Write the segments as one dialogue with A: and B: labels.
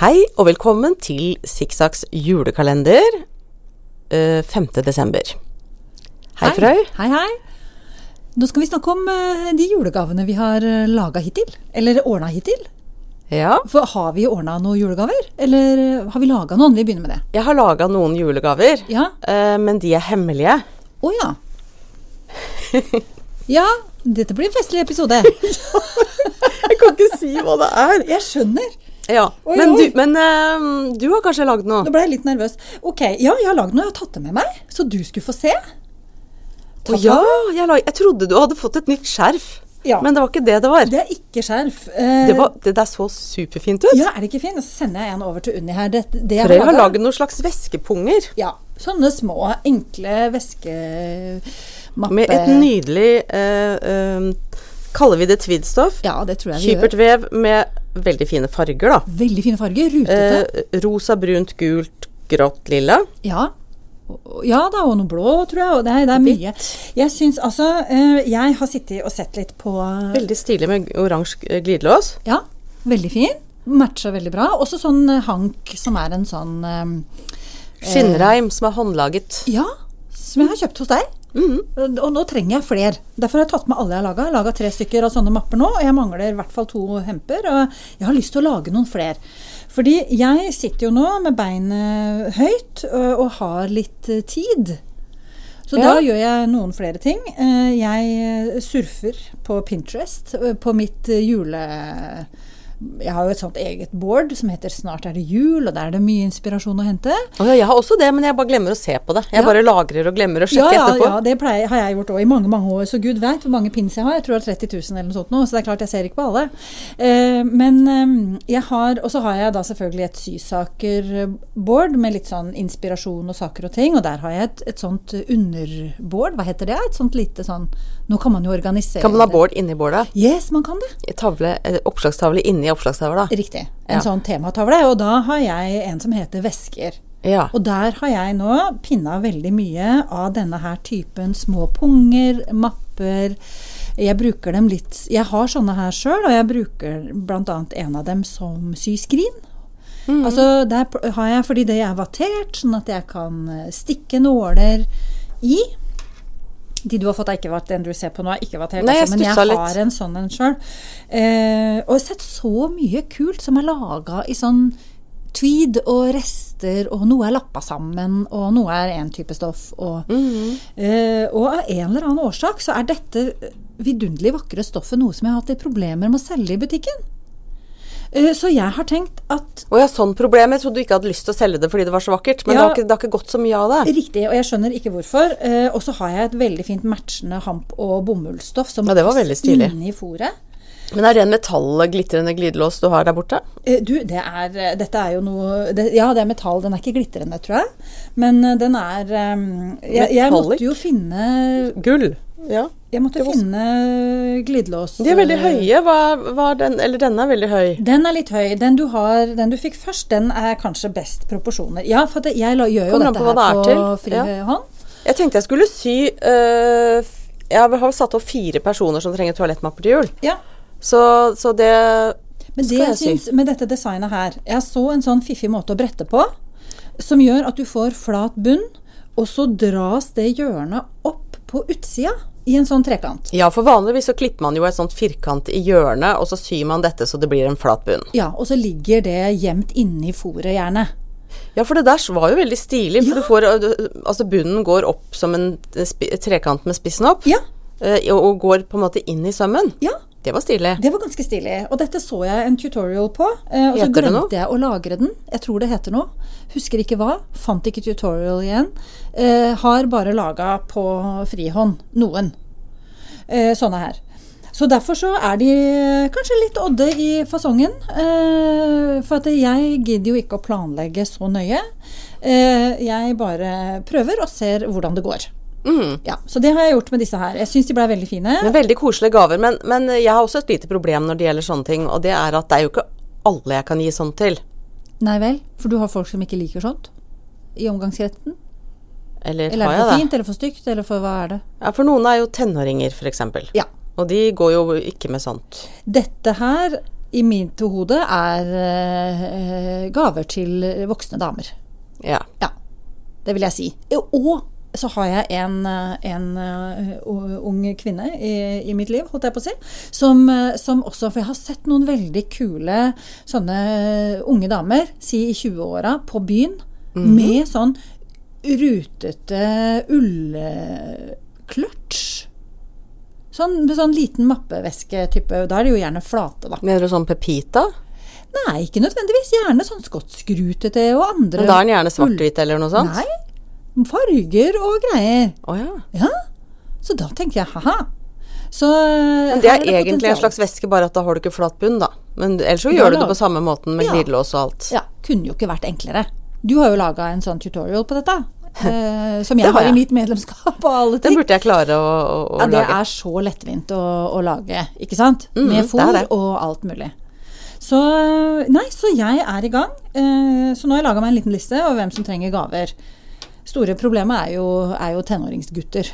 A: Hei og velkommen til Sikksakks julekalender eh, 5. desember. Hei, Frøy.
B: Hei, hei. Nå skal vi snakke om eh, de julegavene vi har laga hittil. Eller ordna hittil.
A: Ja,
B: For har vi ordna noen julegaver? Eller eh, har vi laga noen? Vi begynner med det.
A: jeg har laga noen julegaver,
B: Ja.
A: eh, men de er hemmelige.
B: Å ja. Ja, dette blir en festlig episode.
A: Jeg kan ikke si hva det er.
B: Jeg skjønner.
A: Ja,
B: Oi,
A: Men,
B: oi.
A: du, men eh, du har kanskje lagd
B: Nå
A: noe?
B: ble jeg litt nervøs. Ok, ja, jeg har lagd noe. Jeg har tatt det med meg, så du skulle få se.
A: Å ja, jeg, la, jeg trodde du hadde fått et nytt skjerf,
B: Ja.
A: men det var ikke det det var.
B: Det er ikke skjerf. Eh,
A: Det, var, det der så superfint ut.
B: Ja, er det ikke fint? Så sender jeg en over til Unni her. Det, det jeg
A: Frøy har
B: laget-
A: lagd noen slags væskepunger
B: Ja. Sånne små, enkle væskemappe...
A: med et nydelig eh, eh, Kaller vi det tweedstoff?
B: Ja, det tror jeg vi
A: Kypert vev med veldig fine farger, da.
B: gjør. Veldig fine farger. Rutete.
A: Eh, rosa, brunt, gult, grått, lilla.
B: Ja. Og- Ja da, og noe blå, tror jeg. Og det, er- det er mye. Jeg syns altså eh, Jeg har sittet og sett litt på
A: Veldig stilig med oransje eh, glidelås.
B: Ja, veldig fin. Matcher veldig bra. Også sånn eh, hank som er en sånn eh,
A: Skinnreim som er håndlaget.
B: Ja, som jeg har kjøpt hos deg. Og- Og nå trenger jeg fler. Derfor har jeg tatt med alle jeg har laga. Jeg har laga tre stykker av sånne mapper nå, og jeg mangler i hvert fall to hemper. Og jeg har lyst til å lage noen fler. Fordi jeg sitter jo nå med beinet høyt og, og har litt eh, tid. Så
A: Ja.
B: da gjør jeg noen flere ting. Eh, Jeg surfer på Pinterest eh, på mitt eh, jule... Jeg har jo et sånt eget board som heter 'Snart er det jul', og der er det mye inspirasjon å hente.
A: Å ja, jeg har også det, men jeg bare glemmer å se på det. Jeg
B: Ja.
A: bare lagrer og glemmer å sjekke
B: ja,
A: etterpå.
B: Ja, det pleier, har jeg gjort også i mange mange år, så gud veit hvor mange pins jeg har. Jeg tror det er 30 000 eller noe sånt nå, så det er klart jeg ser ikke på alle. Eh, men eh, jeg har Og så har jeg da selvfølgelig et sysakerboard med litt sånn inspirasjon og saker og ting, og der har jeg et, et sånt underboard, hva heter det? Et sånt lite sånn Nå kan man jo organisere
A: Kan man ha
B: det.
A: board inni boarda?
B: Yes, man kan det.
A: Tavle, eh, oppslagstavle inni oppslagstavla?
B: Riktig. En
A: Ja.
B: sånn tematavle. Og da har jeg en som heter Væsker.
A: Ja.
B: Og der har jeg nå pinna veldig mye av denne her typen små punger, mapper. Jeg bruker dem litt Jeg har sånne her sjøl, og jeg bruker bl.a. en av dem som syskrin. Altså, der pl- har jeg fordi det er vattert, sånn at jeg kan eh, stikke nåler i. De du har fått, er ikke vatt, den du ser på nå, er ikke vattert.
A: Nei, jeg
B: altså, men jeg
A: stussa
B: har
A: litt.
B: en sånn en sjøl. Eh, og jeg har sett så mye kult som er laga i sånn tweed og rester, og noe er lappa sammen, og noe er én type stoff. Og,
A: Mhm.
B: eh, og av en eller annen årsak så er dette vidunderlig vakre stoffet noe som jeg har hatt litt problemer med å selge i butikken. Eh, så jeg har tenkt at
A: Å ja, sånn problem. Jeg trodde du ikke hadde lyst til å selge det fordi det var så vakkert, men det,
B: Ja.
A: har ikke, det har ikke gått så mye av det.
B: Riktig, og jeg skjønner ikke hvorfor. Eh, og så har jeg et veldig fint matchende hamp- og bomullsstoff som
A: Ja, det var veldig stilig.
B: inni fòret.
A: Men er det en metallglitrende glidelås du har der borte?
B: Eh, Du, det er, eh, dette er jo noe det, Ja, det er metall. Den er ikke glitrende, tror jeg. Men eh, den er eh, jeg, jeg måtte
A: Metallic?
B: jo finne
A: Gull. Ja.
B: Jeg måtte
A: Det var-
B: finne glidelås.
A: De er veldig høye. Hva, hva er den, eller denne er veldig høy.
B: Den er litt høy. Den du, har, den du fikk først, den er kanskje best proporsjoner. Ja, for det, jeg la, gjør jo
A: Kommer an
B: dette
A: på hva
B: her på
A: det er til.
B: fri hånd.
A: Jeg tenkte jeg skulle sy øh, f- Jeg har satt opp fire personer som trenger toalettmapper til jul.
B: Ja.
A: Så, så det
B: Men det
A: skal
B: jeg
A: jeg sy.
B: syns med dette designet her Jeg så en sånn fiffig måte å brette på, som gjør at du får flat bunn, og så dras det hjørnet opp på utsida i en sånn trekant.
A: Ja, for vanligvis så klipper man jo et sånt firkant i hjørnet, og så syr man dette så det blir en flat bunn.
B: Ja, og så ligger det gjemt inni fòret, gjerne.
A: Ja, for det der var jo veldig stilig. For du får øh, du- Altså, bunnen går opp som en øh, spi- trekant med spissen opp,
B: Ja.
A: øh, og- og går på en måte inn i sømmen.
B: Ja,
A: Det var stilig.
B: Det var ganske stilig. Og dette så jeg en tutorial på. eh, Og så
A: Heter det noe?
B: glemte jeg å lagre den. Jeg tror det heter noe. Husker ikke hva. Fant ikke tutorial igjen. Eh, har bare laga på frihånd. Noen. Eh, sånne her. Så derfor så er de eh, kanskje litt odde i fasongen. Eh, for at jeg gidder jo ikke å planlegge så nøye. Eh, jeg bare prøver og ser hvordan det går.
A: Mm.
B: Ja, så det har jeg gjort med disse her. Jeg syns de blei veldig fine.
A: Men Veldig koselige gaver. Men, men jeg har også et lite problem når det gjelder sånne ting, og det er at det er jo ikke alle jeg kan gi sånt til.
B: Nei vel, for du har folk som ikke liker sånt i omgangskretsen?
A: Eller,
B: Eller
A: har
B: er det
A: jeg
B: for
A: det?
B: fint, eller for stygt, eller for hva er det?
A: Ja, for noen er jo tenåringer, f.eks.
B: Ja.
A: Og de går jo ikke med sånt.
B: Dette her i mitt hode er eh, gaver til voksne damer.
A: Ja.
B: Ja, det vil jeg si. Og så har jeg en, eh, en eh, u- ung kvinne i, i mitt liv, holdt jeg på å si, som, eh, som også For jeg har sett noen veldig kule sånne unge damer, si i 20-åra, på byen
A: Mhm.
B: med sånn rutete ullkløtsj. Sånn, med sånn liten mappeveske-type. Da er det jo gjerne flate, da.
A: Mener du sånn Pepita?
B: Nei, ikke nødvendigvis. Gjerne sånn skotskrutete og andre
A: Men da er den gjerne svart-hvit eller noe sånt?
B: Nei. Farger og greier.
A: Å ja.
B: Ja. Så da tenker jeg ha-ha. Så
A: Men det
B: her
A: er, egentlig en
B: potensial.
A: slags væske, bare at da har du ikke flat bunn, da. Men ellers så
B: Da
A: gjør du det
B: lager-
A: på samme måten med
B: Ja.
A: glidelås og alt.
B: Ja. Kunne jo ikke vært enklere. Du har jo laga en sånn tutorial på dette. eh, som jeg
A: Det har
B: har
A: jeg.
B: i mitt medlemskap og alle
A: Den
B: ting.
A: burde jeg klare å, å, å
B: Ja, det
A: lage.
B: er så lettvint å, å lage, ikke sant?
A: Mm, det
B: Med
A: er
B: fôr
A: det.
B: og alt mulig. Så, nei, så jeg er i gang. Eh, Så nå har jeg laga meg en liten liste over hvem som trenger gaver. Store problemet er jo, er jo tenåringsgutter.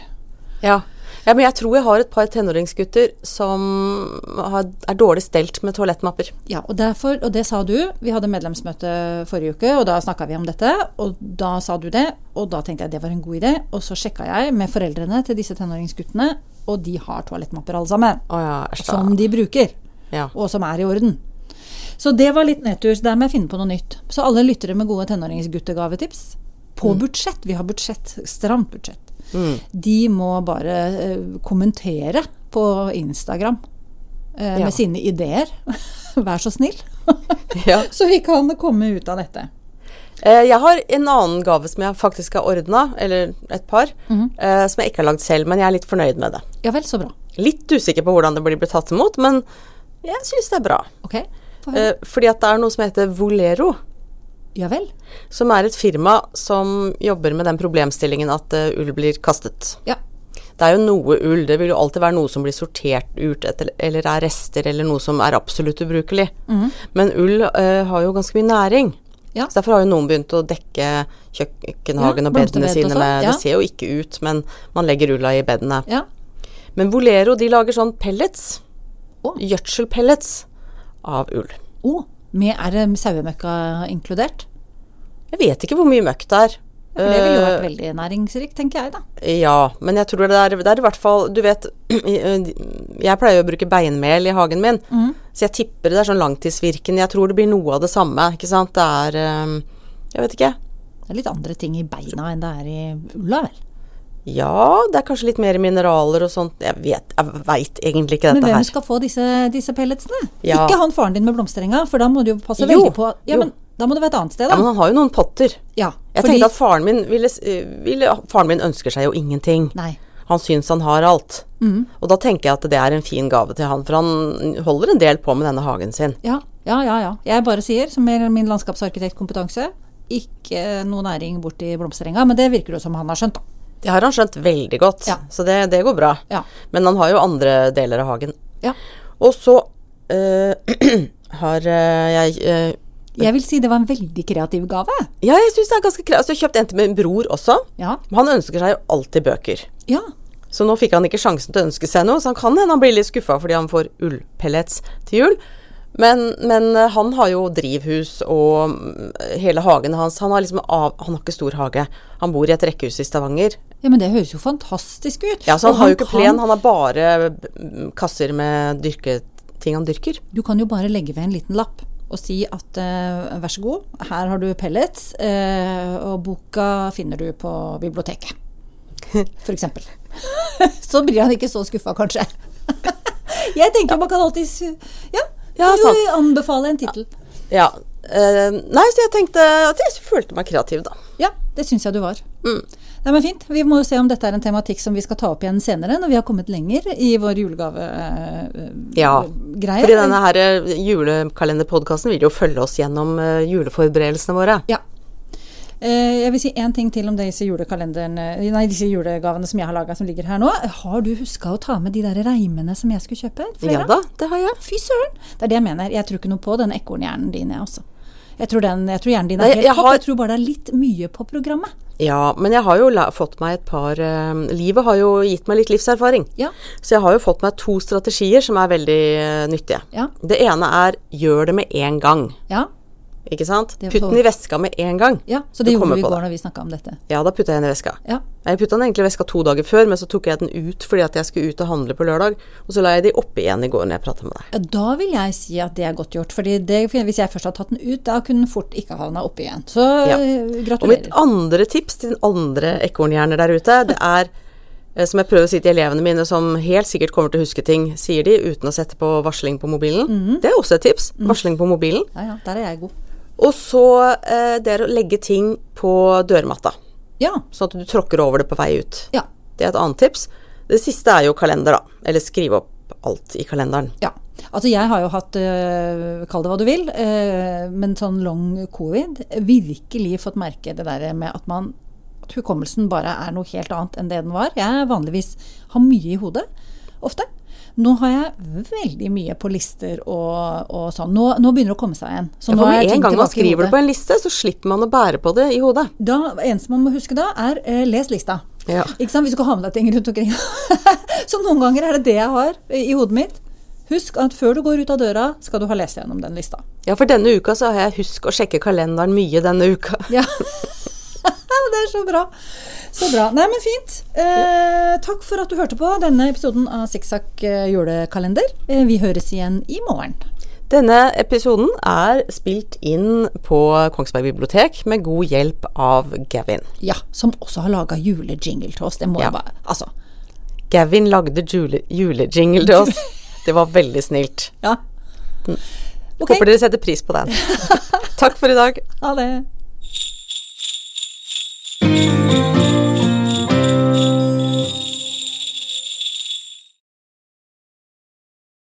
A: Ja. ja, men jeg tror jeg har et par tenåringsgutter som har, er dårlig stelt med toalettmapper.
B: Ja, og, derfor, og det sa du. Vi hadde medlemsmøte forrige uke, og da snakka vi om dette. Og da sa du det, og da tenkte jeg det var en god idé. Og så sjekka jeg med foreldrene til disse tenåringsguttene, og de har toalettmapper alle sammen.
A: Å ja, æsj da.
B: Som de bruker,
A: Ja.
B: og som er i orden. Så det var litt nedtur. så Der må jeg finne på noe nytt. Så alle lyttere med gode tenåringsguttegavetips på budsjett, vi har budsjett, stramt budsjett, de må bare eh, kommentere på Instagram eh,
A: Ja.
B: med sine ideer. Vær så snill.
A: Ja.
B: Så vi kan komme ut av dette.
A: Eh, Jeg har en annen gave som jeg faktisk har ordna, eller et par,
B: Mhm.
A: eh, som jeg ikke har lagd selv, men jeg er litt fornøyd med det.
B: Ja vel, så bra.
A: Litt usikker på hvordan det blir blitt tatt imot, men jeg syns det er bra.
B: Ok. Få høre.
A: Eh, Fordi at det er noe som heter Volero.
B: Ja vel.
A: Som er et firma som jobber med den problemstillingen at eh, ull blir kastet.
B: Ja.
A: Det er jo noe ull, det vil jo alltid være noe som blir sortert ut etter, eller er rester, eller noe som er absolutt ubrukelig. Men ull eh, har jo ganske mye næring.
B: Mhm. Ja.
A: Så derfor har jo noen begynt å dekke kjøkkenhagen
B: Ja,
A: og bedene
B: blomsterbed og
A: sine
B: sånn,
A: med
B: ja.
A: Det ser jo ikke ut, men man legger ulla i bedene.
B: Ja.
A: Men Volero de lager sånn pellets,
B: Å.
A: gjødselpellets, av ull.
B: Å, med er det sauemøkka inkludert?
A: Jeg vet ikke hvor mye møkk det er.
B: For det ville jo
A: Eh,
B: vært veldig næringsrikt, tenker jeg da.
A: Ja, men jeg tror det er, det er i hvert fall Du vet, eh, jeg pleier jo å bruke beinmel i hagen min,
B: Mhm.
A: så jeg tipper det er sånn langtidsvirkende. Jeg tror det blir noe av det samme, ikke sant. Det er eh, Jeg vet ikke.
B: Det er litt andre ting i beina enn det er i ulla, vel.
A: Ja, det er kanskje litt mer mineraler og sånt. Jeg vet, jeg veit egentlig ikke
B: Men
A: dette
B: hvem
A: her.
B: skal få disse, disse pelletsene?
A: Ja.
B: Ikke han faren din med blomsterenga, for da må du jo passe
A: Jo,
B: veldig på ja,
A: jo.
B: men, Da må det være et annet sted,
A: Ja,
B: da.
A: men han har jo noen potter.
B: Ja,
A: Jeg
B: fordi-
A: tenkte at faren min ville, s- eh, ville Faren min ønsker seg jo ingenting.
B: Nei. Mm.
A: Han syns han har alt. Og da tenker jeg at det er en fin gave til han, for han holder en del på med denne hagen sin.
B: Ja, ja, ja. ja. Jeg bare sier, som er min landskapsarkitektkompetanse, ikke noe næring borti blomsterenga, men det virker det som han har skjønt, da.
A: Det har han skjønt veldig godt,
B: Ja.
A: så det, det går bra.
B: Ja.
A: Men han har jo andre deler av hagen.
B: Ja.
A: Og så eh, har eh, jeg eh,
B: Jeg vil si det var en veldig kreativ gave.
A: Ja, jeg syns det er ganske kreativt. Jeg har kjøpt en til min bror også.
B: Ja.
A: Han ønsker seg jo alltid bøker.
B: Ja.
A: Så nå fikk han ikke sjansen til å ønske seg noe, så han kan hende han blir litt skuffa fordi han får ullpellets til jul. Men, men eh, han har jo drivhus og mm, hele hagen hans. Han har liksom av, han har ikke stor hage. Han bor i et rekkehus i Stavanger.
B: ja, men det høres jo fantastisk ut.
A: Ja, så
B: Og
A: han har jo ikke
B: kan-
A: plen, han har bare mm, kasser med dyrketing han dyrker.
B: Du kan jo bare legge ved en liten lapp og si at eh, vær så god, her har du pellets, eh, og boka finner du på biblioteket. For eksempel. så blir han ikke så skuffa, kanskje. Jeg tenker man kan alltid Ja,
A: Ja,
B: kan du anbefale en tittel.
A: Ja. eh, nei, så jeg tenkte at jeg følte meg kreativ, da.
B: Ja, det syns jeg du var.
A: Mm.
B: Nei, men fint. Vi må jo se om dette er en tematikk som vi skal ta opp igjen senere, når vi har kommet lenger i vår eh, julegavegreie.
A: Ja. Fordi denne her eh, julekalenderpodkasten vil jo følge oss gjennom eh, juleforberedelsene våre.
B: Ja. Eh, Jeg vil si én ting til om disse, julekalenderen- eh, nei, disse julegavene som jeg har laga, som ligger her nå. Har du huska å ta med de der reimene som jeg skulle kjøpe? Fredag?
A: Ja da, det har jeg.
B: Fy søren! Det er det jeg mener. Jeg tror ikke noe på den ekornhjernen din, jeg, altså. Jeg tror, den, jeg tror hjernen din
A: Nei,
B: er helt
A: jeg
B: topp.
A: har-
B: Jeg tror bare det er litt mye på programmet.
A: Ja, men jeg har jo la fått meg et par eh, Livet har jo gitt meg litt livserfaring.
B: Ja.
A: Så jeg har jo fått meg to strategier som er veldig eh, nyttige.
B: Ja.
A: Det ene er gjør det med en gang.
B: Ja.
A: Ikke sant?
B: Det er
A: Putt
B: på-
A: den i veska med en gang.
B: ja. Så
A: Du
B: det gjorde
A: kommer
B: vi i
A: på
B: går når vi snakka om dette.
A: Ja, da putta jeg den i veska.
B: Ja.
A: Jeg putta den egentlig i veska to dager før, men så tok jeg den ut fordi at jeg skulle ut og handle på lørdag. Og så la jeg de oppi igjen i går når jeg prata med deg.
B: Ja, Da vil jeg si at det er godt gjort. Fordi det, hvis jeg først har tatt den ut, da kunne den fort ikke havna oppi igjen. Så
A: Ja.
B: eh,
A: Og mitt
B: gratulerer.
A: andre tips til den andre ekornhjerner der ute, det er eh, som jeg prøver å si til elevene mine, som helt sikkert kommer til å huske ting, sier de, uten å sette på varsling på mobilen.
B: Mhm.
A: Det er også et tips. Varsling på mobilen.
B: Ja, ja, der er jeg god.
A: Og så eh, det er å legge ting på dørmatta,
B: Ja.
A: sånn at du tråkker over det på vei ut.
B: Ja.
A: Det er et annet tips. Det siste er jo kalender, da. Eller skrive opp alt i kalenderen.
B: Ja. Altså, jeg har jo hatt, øh, kall det hva du vil, øh, men sånn long covid Virkelig fått merke det der med at man at hukommelsen bare er noe helt annet enn det den var. Jeg vanligvis har mye i hodet, ofte. Nå har jeg veldig mye på lister og, og sånn. Nå, nå begynner det å komme seg igjen. Så
A: Ja,
B: nå
A: For
B: har jeg
A: med
B: ting
A: en gang man
B: tilbake i
A: skriver det
B: hodet.
A: på en liste, så slipper man å bære på det i hodet.
B: da, eneste man må huske da, er eh, les lista.
A: Ja.
B: Ikke sant? Hvis du skal ha med deg ting rundt omkring. så noen ganger er det det jeg har eh, i hodet mitt. Husk at før du går ut av døra, skal du ha lest gjennom den lista.
A: Ja, for denne uka så har jeg husk å sjekke kalenderen mye denne uka.
B: Ja. det er så bra. Så bra. Nei, men fint. Eh, takk for at du hørte på denne episoden av Sikksakk eh, julekalender. Eh, vi høres igjen i morgen.
A: Denne episoden er spilt inn på Kongsberg bibliotek med god hjelp av Gavin.
B: Ja, som også har laga julejingle til oss. Det må
A: Ja.
B: jeg bare Altså.
A: Gavin lagde jule, julejingle til oss. Det var veldig snilt.
B: Ja. Ok.
A: Mm. Håper dere setter pris på den. Takk for i dag.
B: Ha det.